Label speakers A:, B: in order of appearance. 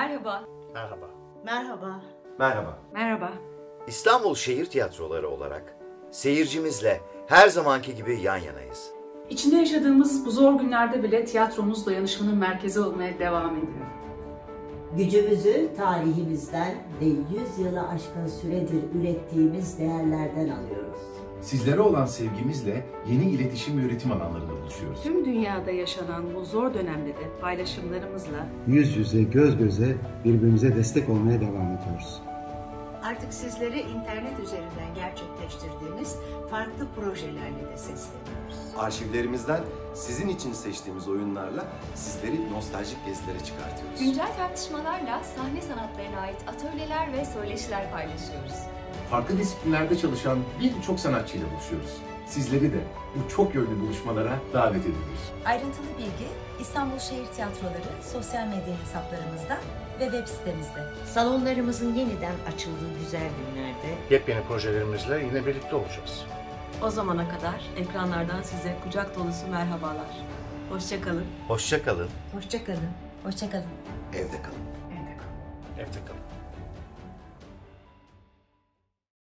A: Merhaba.
B: Merhaba.
C: Merhaba.
D: Merhaba.
A: Merhaba.
D: İstanbul Şehir Tiyatroları olarak seyircimizle her zamanki gibi yan yanayız.
E: İçinde yaşadığımız bu zor günlerde bile tiyatromuz dayanışmanın merkezi olmaya devam ediyor.
C: Gücümüzü tarihimizden ve 100 yılı aşkın süredir ürettiğimiz değerlerden alıyoruz.
F: Sizlere olan sevgimizle yeni iletişim ve üretim alanlarında buluşuyoruz.
G: Tüm dünyada yaşanan bu zor dönemde de paylaşımlarımızla
H: yüz yüze, göz göze birbirimize destek olmaya devam ediyoruz.
I: Artık sizlere internet üzerinden gerçekleştirdiğimiz farklı projelerle de sesleniyoruz.
J: Arşivlerimizden sizin için seçtiğimiz oyunlarla sizleri nostaljik gezilere çıkartıyoruz.
A: Güncel tartışmalarla sahne sanatlarına ait atölyeler ve söyleşiler paylaşıyoruz.
F: Farklı disiplinlerde çalışan birçok sanatçıyla buluşuyoruz. Sizleri de bu çok yönlü buluşmalara davet ediyoruz.
K: Ayrıntılı bilgi İstanbul Şehir Tiyatroları sosyal medya hesaplarımızda ve web sitemizde.
L: Salonlarımızın yeniden açıldığı güzel günlerde
B: Yepyeni projelerimizle yine birlikte olacağız.
G: o zamana kadar ekranlardan size kucak dolusu merhabalar. Hoşçakalın.
D: Hoşça kalın.
I: Hoşçakalın.
K: Hoşçakalın.
J: Evde kalın.
B: Evde kalın.